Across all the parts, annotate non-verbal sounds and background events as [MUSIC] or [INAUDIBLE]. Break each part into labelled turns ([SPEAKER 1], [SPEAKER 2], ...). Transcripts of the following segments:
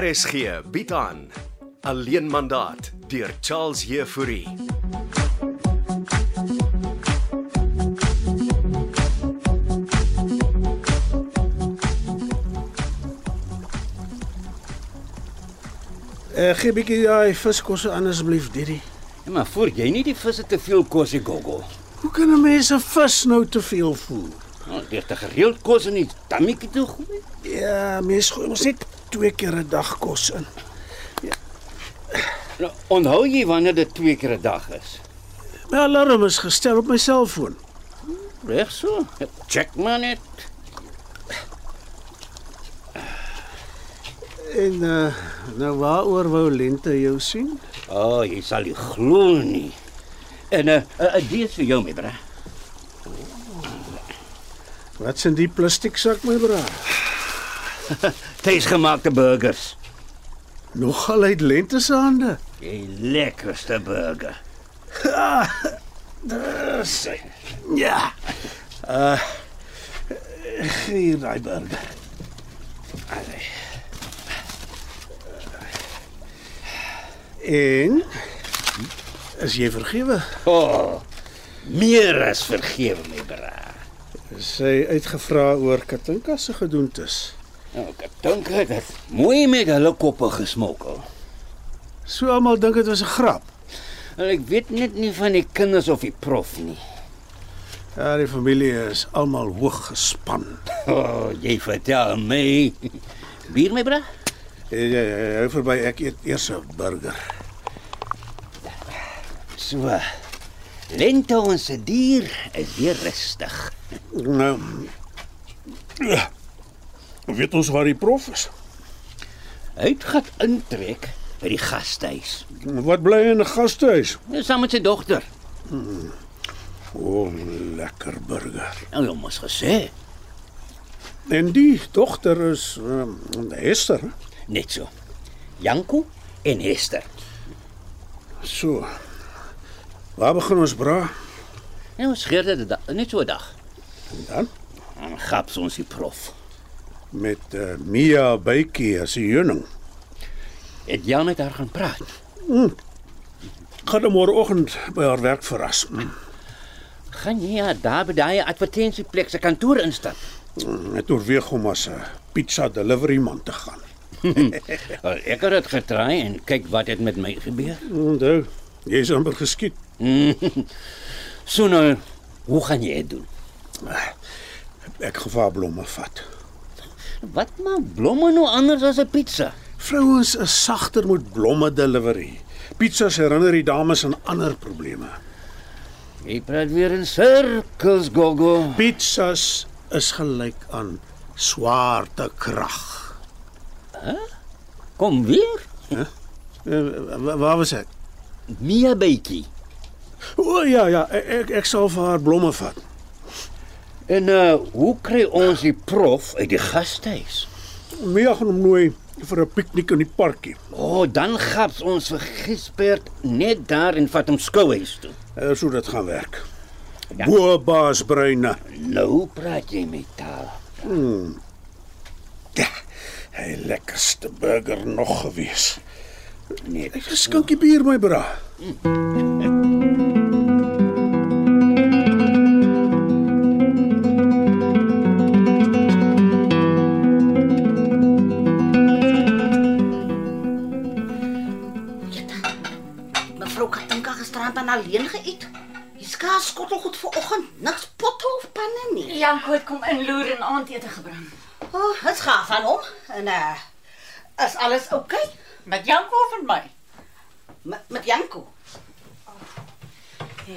[SPEAKER 1] RSG bied aan Alleen mandaat deur Charles Heffouri.
[SPEAKER 2] Eh gee bietjie daai viskosse aan asseblief, Didi.
[SPEAKER 3] Ja, maar voor jy nie die visse te veel kos nie, Gogo.
[SPEAKER 2] Hoe kan 'n mens 'n vis nou te veel voer?
[SPEAKER 3] Nou, Dit te gereeld kos in die tammetjie toe gooi.
[SPEAKER 2] Ja, mens gooi mos net twee keer 'n dag kos in.
[SPEAKER 3] Nou, onthou jy wanneer dit twee keer 'n dag is?
[SPEAKER 2] My alarm is gestel op my selfoon.
[SPEAKER 3] Reg so. Check maar net.
[SPEAKER 2] En uh nou waaroor wou Lente jou sien?
[SPEAKER 3] O, oh, jy sal nie glo nie. En 'n uh, 'n uh, dis vir jou, my bra.
[SPEAKER 2] Wat's in die plastiek sak, my bra?
[SPEAKER 3] Tuisgemaakte burgers.
[SPEAKER 2] Nogal uit Lente se hande.
[SPEAKER 3] Die lekkerste burger.
[SPEAKER 2] Dis ja. Uh gee daai burger.
[SPEAKER 3] Allee.
[SPEAKER 2] En is jy vergewe?
[SPEAKER 3] O, oh, meer as vergewe, my bra.
[SPEAKER 2] Sy uitgevra oor Katinka se gedoentes.
[SPEAKER 3] Nou, ek dink dit het mooi met hulle koppe gesmokkel.
[SPEAKER 2] So almal dink dit was 'n grap.
[SPEAKER 3] En ek weet net nie van die kinders of die prof nie.
[SPEAKER 2] Ja, die familie is almal hoog gespan.
[SPEAKER 3] [LAUGHS] O, oh, jy vertel my. Bier my bra?
[SPEAKER 2] Jy jy- jy hou verby ek eet eers 'n burger.
[SPEAKER 3] So. Lente ons se dier is weer rustig.
[SPEAKER 2] Nou. ja, Weet ons waar die prof is?
[SPEAKER 3] Hy het gaan intrek by die gastehuis.
[SPEAKER 2] Wat bly in 'n gastehuis?
[SPEAKER 3] Dis saam met sy dogter.
[SPEAKER 2] O, oh, lekker burger.
[SPEAKER 3] Nou jy mos gesê,
[SPEAKER 2] En die dogter is um, Esther. hè?
[SPEAKER 3] net so. Janko en Hester.
[SPEAKER 2] So. Waar begin ons bra?
[SPEAKER 3] Nou ons skeer dit da- net so 'n dag.
[SPEAKER 2] En Dan
[SPEAKER 3] Dan gaps ons die prof.
[SPEAKER 2] met uh, Mia Bykie as die heuning.
[SPEAKER 3] Het Jan met haar gaan praat.
[SPEAKER 2] Gaan hom môreoggend by haar werk verras. Mm.
[SPEAKER 3] Gaan jy haar daar by daai advertensieplek se kantoor instap?
[SPEAKER 2] Net oorweeg om as 'n pizza delivery man te gaan.
[SPEAKER 3] Wel, Ek het dit getraai en kyk wat het met my gebeur.
[SPEAKER 2] Onthou, jy is amper geskiet.
[SPEAKER 3] So nou, hoe gaan jy dit doen?
[SPEAKER 2] Ek gevaar blomme vat.
[SPEAKER 3] Wat maak blomme nou anders as 'n pizza?
[SPEAKER 2] Vrouens is sagter met blomme delivery. Pizzas herinner die dames aan ander probleme.
[SPEAKER 3] Jy praat weer in sirkels, Gogo.
[SPEAKER 2] Pizzas is gelyk aan swaartekrag.
[SPEAKER 3] Kom weer?
[SPEAKER 2] Uh, wa- waar was ek?
[SPEAKER 3] Mia bytjie.
[SPEAKER 2] O ja ja, ek ek sal vir haar blomme vat.
[SPEAKER 3] En uh hoe kry ons die prof uit die gastehuis?
[SPEAKER 2] Mia gaan hom nooi vir 'n piknik in die parkie.
[SPEAKER 3] O, oh, dan gaps ons vir Gispert net daar en vat hom skouhuis toe.
[SPEAKER 2] Uh, so dit gaan werk.
[SPEAKER 3] Ja.
[SPEAKER 2] Bo baas Breine.
[SPEAKER 3] Nou praat jy met taal.
[SPEAKER 2] Ja, hy lekkerste burger nog gewees.
[SPEAKER 3] Nee,
[SPEAKER 2] Ek skoukie bier my bra.
[SPEAKER 4] Mevrou Katinka gisterand aan alleen geëet. Hier's kaas skottelgoed vir oggend, niks potte of panne nie.
[SPEAKER 5] Janko het kom inloer en aandete gebring.
[SPEAKER 4] O, oh, dit's gaaf van hom. En uh is alles oukei okay?
[SPEAKER 5] Met Janko of met my?
[SPEAKER 4] met, met Janko?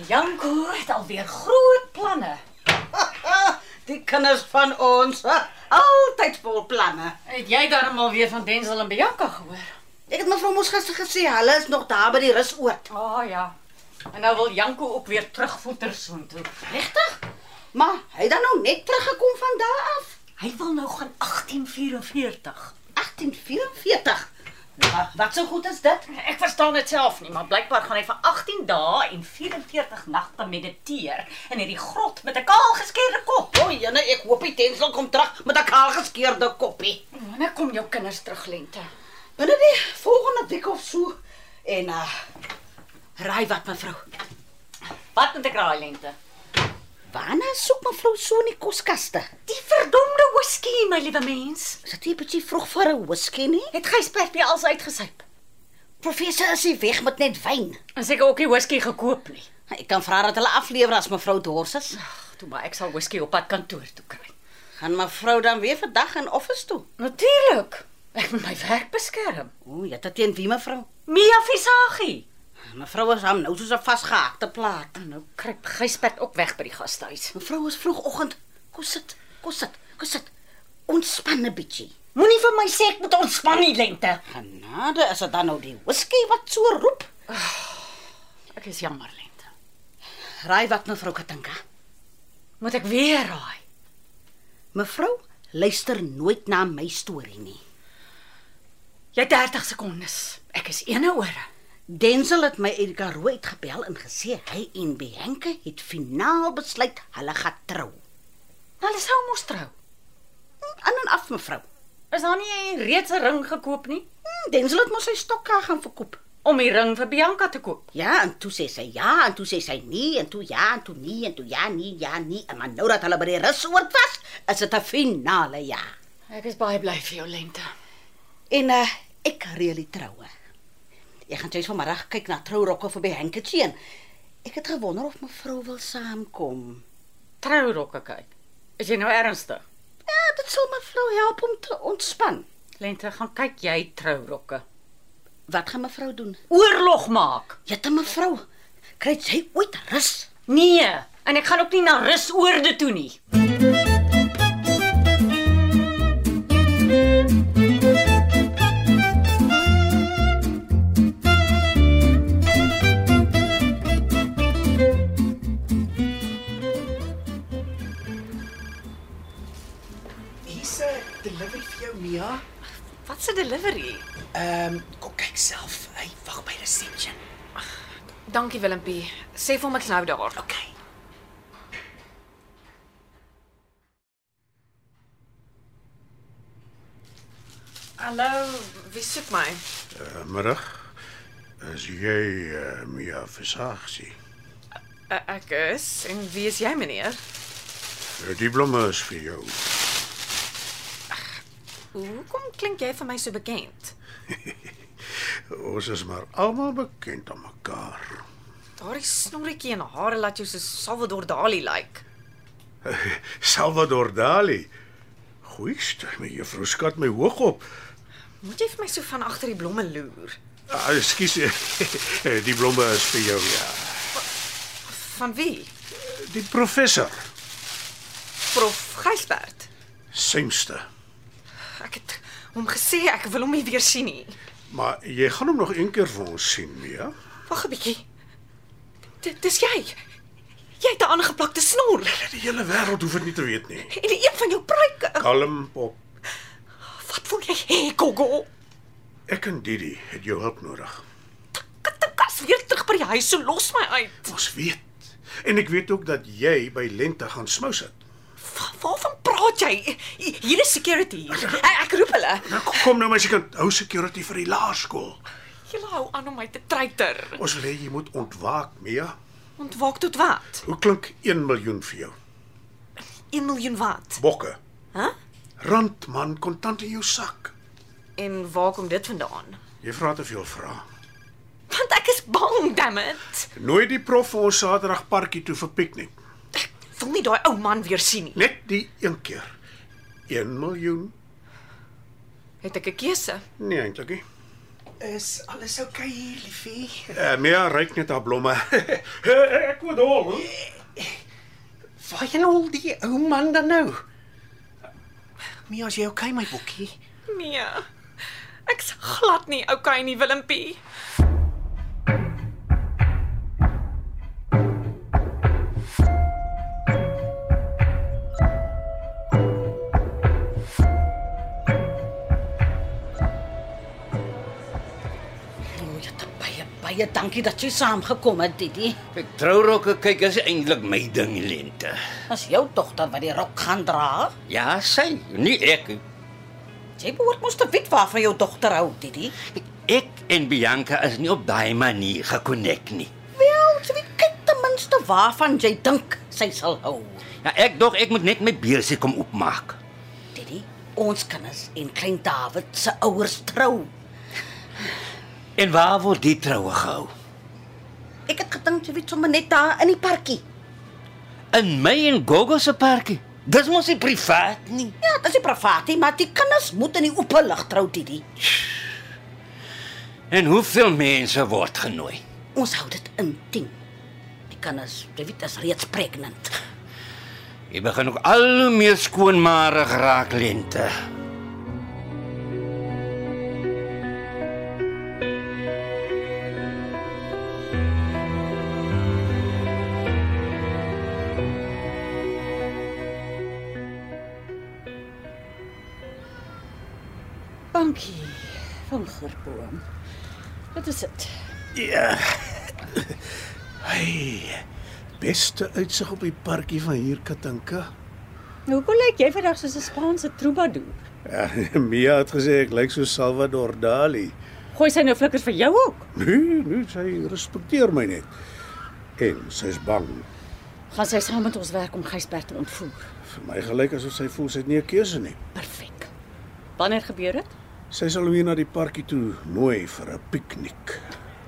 [SPEAKER 5] Janko het alweer groot planne.
[SPEAKER 4] [LAUGHS] Die kinders van ons, ha, altyd vol planne.
[SPEAKER 5] Het jy darm al weer van Denzel en Bianca gehoor?
[SPEAKER 4] Ek het mevrou mos gister gesê hulle is nog daar by die rusoord.
[SPEAKER 5] O oh, ja. En nou wil Janko ook weer terugvoeter soontoe.
[SPEAKER 4] Regtig? Maar hy het dan nou net teruggekom van daar af.
[SPEAKER 5] Hy wil nou gaan 1844.
[SPEAKER 4] 1844. Nou,
[SPEAKER 5] Ja,
[SPEAKER 4] wat so goed is dit?
[SPEAKER 5] Ek verstaan dit self nie, maar blykbaar gaan hy vir 18 dae en 44 nagte mediteer in hierdie grot met 'n kaal geskeurde kop.
[SPEAKER 4] O, oh, jene, ek hoop die tensel kom terug met 'n kaal geskeurde koppie.
[SPEAKER 5] Wanneer kom jou kinders terug lente?
[SPEAKER 4] binne die volgende week of so. En uh raai wat mevrou.
[SPEAKER 5] Wat moet ek raai lente?
[SPEAKER 4] Waarna soek mevrou so in die koskaste?
[SPEAKER 5] Die verdomde whisky, my liewe mens.
[SPEAKER 4] Is dit nie 'n bietjie vroeg vir 'n whisky nie?
[SPEAKER 5] Het Gysbert weer als uitgesyp.
[SPEAKER 4] Professor is nie weg met net wyn.
[SPEAKER 5] En seker ook nie whisky gekoop nie.
[SPEAKER 4] Ek kan vra dat hulle aflewer as mevrou dors is.
[SPEAKER 5] Ag, toe maar ek sal whisky op pad kantoor toe kry.
[SPEAKER 4] Gaan mevrou dan weer vandag in office toe?
[SPEAKER 5] Natuurlik. Ek moet my werk beskerm.
[SPEAKER 4] O, jy het dit teen wie mevrou?
[SPEAKER 5] Mia Visagie.
[SPEAKER 4] Mevrou is hom nou soos 'n vasgehaakte plaat.
[SPEAKER 5] Nou kruip Gysbert ook weg by die gastehuis.
[SPEAKER 4] Mevrou is vroegoggend. Kom sit, kom sit, kom sit. Ontspan 'n bietjie.
[SPEAKER 5] Moenie vir my sê ek moet ontspan nie, Lente.
[SPEAKER 4] Genade, is dit dan nou die whisky wat so roep?
[SPEAKER 5] Ek is jammer, Lente.
[SPEAKER 4] Raai wat mevrou Katinka.
[SPEAKER 5] Moet ek weer raai?
[SPEAKER 4] Mevrou luister nooit na my storie nie.
[SPEAKER 5] Jy het 30 sekondes. Ek is eene ore.
[SPEAKER 4] Denzel het my uit Karoo uitgebel en gesê hy en Bianca het finaal besluit hulle gaan trou.
[SPEAKER 5] Nou, Hulle sou mos trou.
[SPEAKER 4] Aan en af mevrou.
[SPEAKER 5] Is daar nie reeds 'n ring gekoop nie
[SPEAKER 4] Hmm, Denzel het mos sy stokke gaan verkoop.
[SPEAKER 5] om die ring vir Bianca te koop?
[SPEAKER 4] Ja, en toe sê sy ja, en toe sê sy nee, en toe ja, en toe nee, en toe ja, nee, ja, nee. En maar nou dat hulle by die resort was, is dit 'n finale ja.
[SPEAKER 5] Ek is baie bly vir jou, Lente.
[SPEAKER 4] En uh, ek reël die troue. Ek gaan jous vanmiddag kyk na trourokke vir by Henkertjie en ek het gewonder of mevrou wil saamkom.
[SPEAKER 5] Trourokke kyk. Is jy nou ernstig?
[SPEAKER 4] Ja, dit sal mevrou help om te ontspan.
[SPEAKER 5] Lente, gaan kyk jy trourokke.
[SPEAKER 4] Wat gaan mevrou doen?
[SPEAKER 5] Oorlog maak.
[SPEAKER 4] Jette mevrou, kry jy ooit rus?
[SPEAKER 5] Nee, en ek gaan ook nie na rusoorde toe nie.
[SPEAKER 6] Hier's 'n delivery vir jou, Mia.
[SPEAKER 5] Wat se delivery?
[SPEAKER 6] Ehm, um, kom kyk self. Hy wag by reception.
[SPEAKER 7] Dankie Willempie. Sê vir hom ek's nou daar.
[SPEAKER 6] Okay.
[SPEAKER 7] Hallo, wie soek my?
[SPEAKER 2] Uh, middag. As jy uh, Mia Versace.
[SPEAKER 7] Uh, ek is en wie is jy meneer?
[SPEAKER 2] Uh, die blomme is vir jou.
[SPEAKER 7] Hoekom klink jy vir my so bekend?
[SPEAKER 2] Ons is maar almal bekend aan mekaar.
[SPEAKER 7] Daardie snorretjie en hare laat jou so Salvador Dali lyk. Like.
[SPEAKER 2] Salvador Dali. Goeie stuk, my juffrou skat my hoog op.
[SPEAKER 7] Moet jy vir my so van agter die blomme loer?
[SPEAKER 2] Ah, Ekskuus. [LAUGHS] eh, die blomme is vir jou ja.
[SPEAKER 7] Van wie?
[SPEAKER 2] Die professor,
[SPEAKER 7] Prof Gysbert.
[SPEAKER 2] Simste.
[SPEAKER 7] Ek het hom gesê ek wil hom nie weer sien nie.
[SPEAKER 2] Maar jy gaan hom nog een keer vir ons sien, Mia.
[SPEAKER 7] Wag 'n bietjie. Dit dis jy. Jy het 'n aangeplakte snor
[SPEAKER 2] Ja, Die hele wêreld hoef dit nie te weet nie.
[SPEAKER 7] en een van jou pruike.
[SPEAKER 2] Kalm op.
[SPEAKER 7] Wat wil jy hê, Gogo?
[SPEAKER 2] Ek en Didi het jou hulp nodig.
[SPEAKER 7] Kattekas weer terug by die huis, so los my uit.
[SPEAKER 2] Ons weet. En ek weet ook dat jy by Lente gaan smous het.
[SPEAKER 7] Wa- Waarvan praat jy? Hi- Hier is security. Ek, ek roep hulle.
[SPEAKER 2] Nou kom- kom nou maar as jy kan hou security vir die laerskool.
[SPEAKER 7] Julle hou aan om my te treiter.
[SPEAKER 2] Ons wil hê jy moet ontwaak, Mia.
[SPEAKER 7] Ontwaak tot wat?
[SPEAKER 2] Hoe klink 1 miljoen vir jou?
[SPEAKER 7] 1 miljoen wat?
[SPEAKER 2] Bokke.
[SPEAKER 7] Hæ?
[SPEAKER 2] Rand man kontant in jou sak.
[SPEAKER 7] En waar kom dit vandaan?
[SPEAKER 2] Jy vra te veel vrae.
[SPEAKER 7] Want ek is bang, damn it.
[SPEAKER 2] Nooi die prof vir ons Saterdag parkie toe vir piknik.
[SPEAKER 7] Ek wil nie daai ou man weer sien nie.
[SPEAKER 2] Net die een keer. 1 miljoen.
[SPEAKER 7] Het ek 'n keuse?
[SPEAKER 2] Nee eintlik nie.
[SPEAKER 6] Is alles oukei okay hier, liefie?
[SPEAKER 2] Uh, Mia ryk net haar blomme. [LAUGHS] ek word hol.
[SPEAKER 6] Waarheen al die ou man dan nou? Mia, is jy oukei okay, my bokkie?
[SPEAKER 7] Nee. Ek's glad nie okay nie, Willempie.
[SPEAKER 4] O, Jette, baie baie dankie dat jy saamgekom het, Didi.
[SPEAKER 3] Ek trourokke kyk is eintlik my ding lente.
[SPEAKER 4] As jou dogter wat die rok gaan dra.
[SPEAKER 3] Ja, sy, nie ek.
[SPEAKER 8] Jy behoort mos te weet waarvan jou dogter hou, Didi.
[SPEAKER 3] Ek en Bianca is nie op daai manier gekonnekt nie.
[SPEAKER 4] Wel, jy weet kyk ten minste waarvan jy dink sy sal hou.
[SPEAKER 3] Ja, ek dog ek moet net my beursie kom oopmaak.
[SPEAKER 4] Didi, ons kinders en klein David se ouers trou.
[SPEAKER 3] En waar word die troue gehou?
[SPEAKER 4] Ek het gedink jy weet sommer net daar in die parkie.
[SPEAKER 3] In my en Gogo se parkie. Dis mos nie privaat nie.
[SPEAKER 4] Ja, dit is nie privaat nie, maar die kinders moet in die openlig trou, Didi.
[SPEAKER 3] En hoeveel mense word genooi?
[SPEAKER 4] Ons hou dit intiem. Die kinders, jy weet, is reeds pregnant.
[SPEAKER 3] Jy begin ook al hoe meer skoonmarig raak lente.
[SPEAKER 5] Dankie van Gerboom. Dit is dit.
[SPEAKER 2] Ja. [LAUGHS] Hey. Beste uitsig op die parkie van hier Katinka.
[SPEAKER 5] Nou, Hoekom lyk jy vandag soos 'n Spaanse troubadour?
[SPEAKER 2] Ja, [LAUGHS] Mia het gesê ek lyk so Salvador Dali.
[SPEAKER 5] Gooi sy nou flikkers vir jou ook.
[SPEAKER 2] Nee, nee, sy respekteer my net. En sy's bang.
[SPEAKER 5] Gaan sy saam met ons werk om Gysbert te ontvoer.
[SPEAKER 2] Vir my gelyk asof sy voel sy het nie 'n keuse nie.
[SPEAKER 5] Perfek. Wanneer gebeur dit?
[SPEAKER 2] Sy sal hom hier na die parkie toe nooi vir 'n piknik.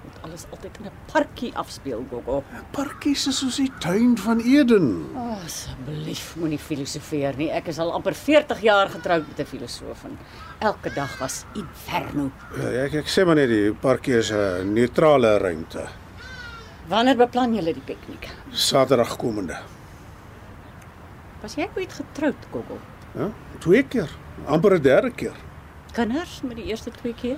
[SPEAKER 5] Moet alles altyd in 'n parkie afspeel, Gogo.
[SPEAKER 2] Parkies is soos die tuin van Eden.
[SPEAKER 5] Oh. Asseblief, moenie filosofeer nie. Ek is al amper 40 jaar getroud met 'n filosoof en elke dag was inferno.
[SPEAKER 2] Ja, ek ek sê maar net die parkie is 'n neutrale ruimte.
[SPEAKER 5] Wanneer beplan julle die piknik?
[SPEAKER 2] Saterdag komende.
[SPEAKER 5] Was jy ooit getroud, Gogo?
[SPEAKER 2] Ja, twee keer, amper 'n derde keer.
[SPEAKER 5] Kinders met die eerste twee keer?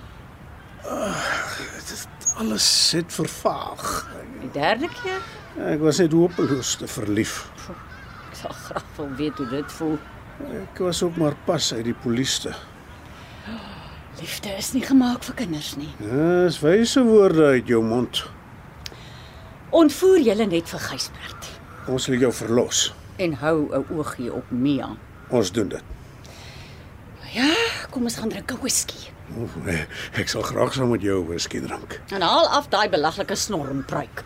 [SPEAKER 2] Dit is alles sit vervaag.
[SPEAKER 5] Die derde keer?
[SPEAKER 2] Ek was net hopeloos te verlief.
[SPEAKER 5] Ek sal graag wil weet hoe dit voel.
[SPEAKER 2] Ek was ook maar pas uit die polisie.
[SPEAKER 5] Liefde is nie gemaak vir kinders nie.
[SPEAKER 2] Dis wyse woorde uit jou mond.
[SPEAKER 5] Ontvoer julle net vir Gysbert
[SPEAKER 2] Ons sal jou verlos.
[SPEAKER 5] en hou 'n oogie op Mia.
[SPEAKER 2] Ons doen dit.
[SPEAKER 5] Ja, kom ons gaan drink 'n whisky.
[SPEAKER 2] O, Ek sal graag saam met jou whisky drink.
[SPEAKER 5] En haal af daai belaglike snormpruik.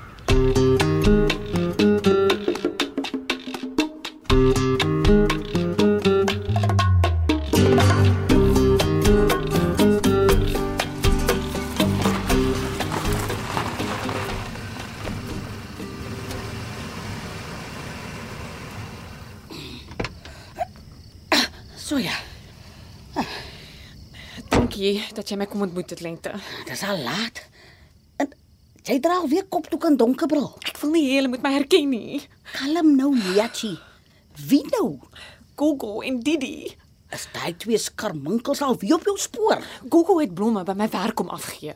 [SPEAKER 4] So ja,
[SPEAKER 7] Dankie dat jy my kom ontmoet het lente.
[SPEAKER 4] dis al laat. En jy dra alweer kopdoek en donkerbril.
[SPEAKER 7] Ek wil nie hê jy moet my herken nie.
[SPEAKER 4] Kalm nou, Miachi. Wie nou?
[SPEAKER 7] Gogo en Didi.
[SPEAKER 4] Is daai twee skarminkels al weer op jou spoor?
[SPEAKER 7] Gogo het blomme by my werk kom afgee.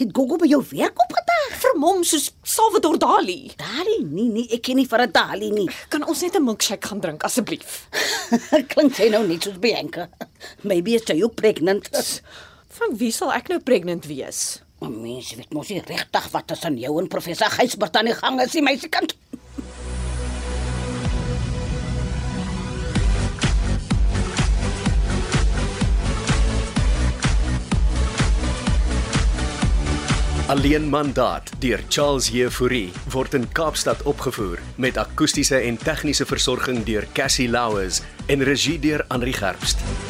[SPEAKER 4] Het Gogo by jou werk opgedag?
[SPEAKER 7] Vermom soos Salvador Dali.
[SPEAKER 4] Dali, nee nee, ek ken nie vir 'n Dali nie. [LAUGHS]
[SPEAKER 7] Kan ons net 'n milkshake gaan drink asseblief?
[SPEAKER 4] Klink jy nou net soos Bianca? Maybe is jy ook pregnant.
[SPEAKER 7] Van wie sal ek nou pregnant wees?
[SPEAKER 4] Maar mens weet mos nie regtig wat tussen jou en professor Gysbert aan die gang is, nie, meisiekind.
[SPEAKER 1] Alleen mandaat deur Charles Jefouri word in Kaapstad opgevoer met akoestiese en tegniese versorging deur Cassie Louws en regie deur Henri Gerst.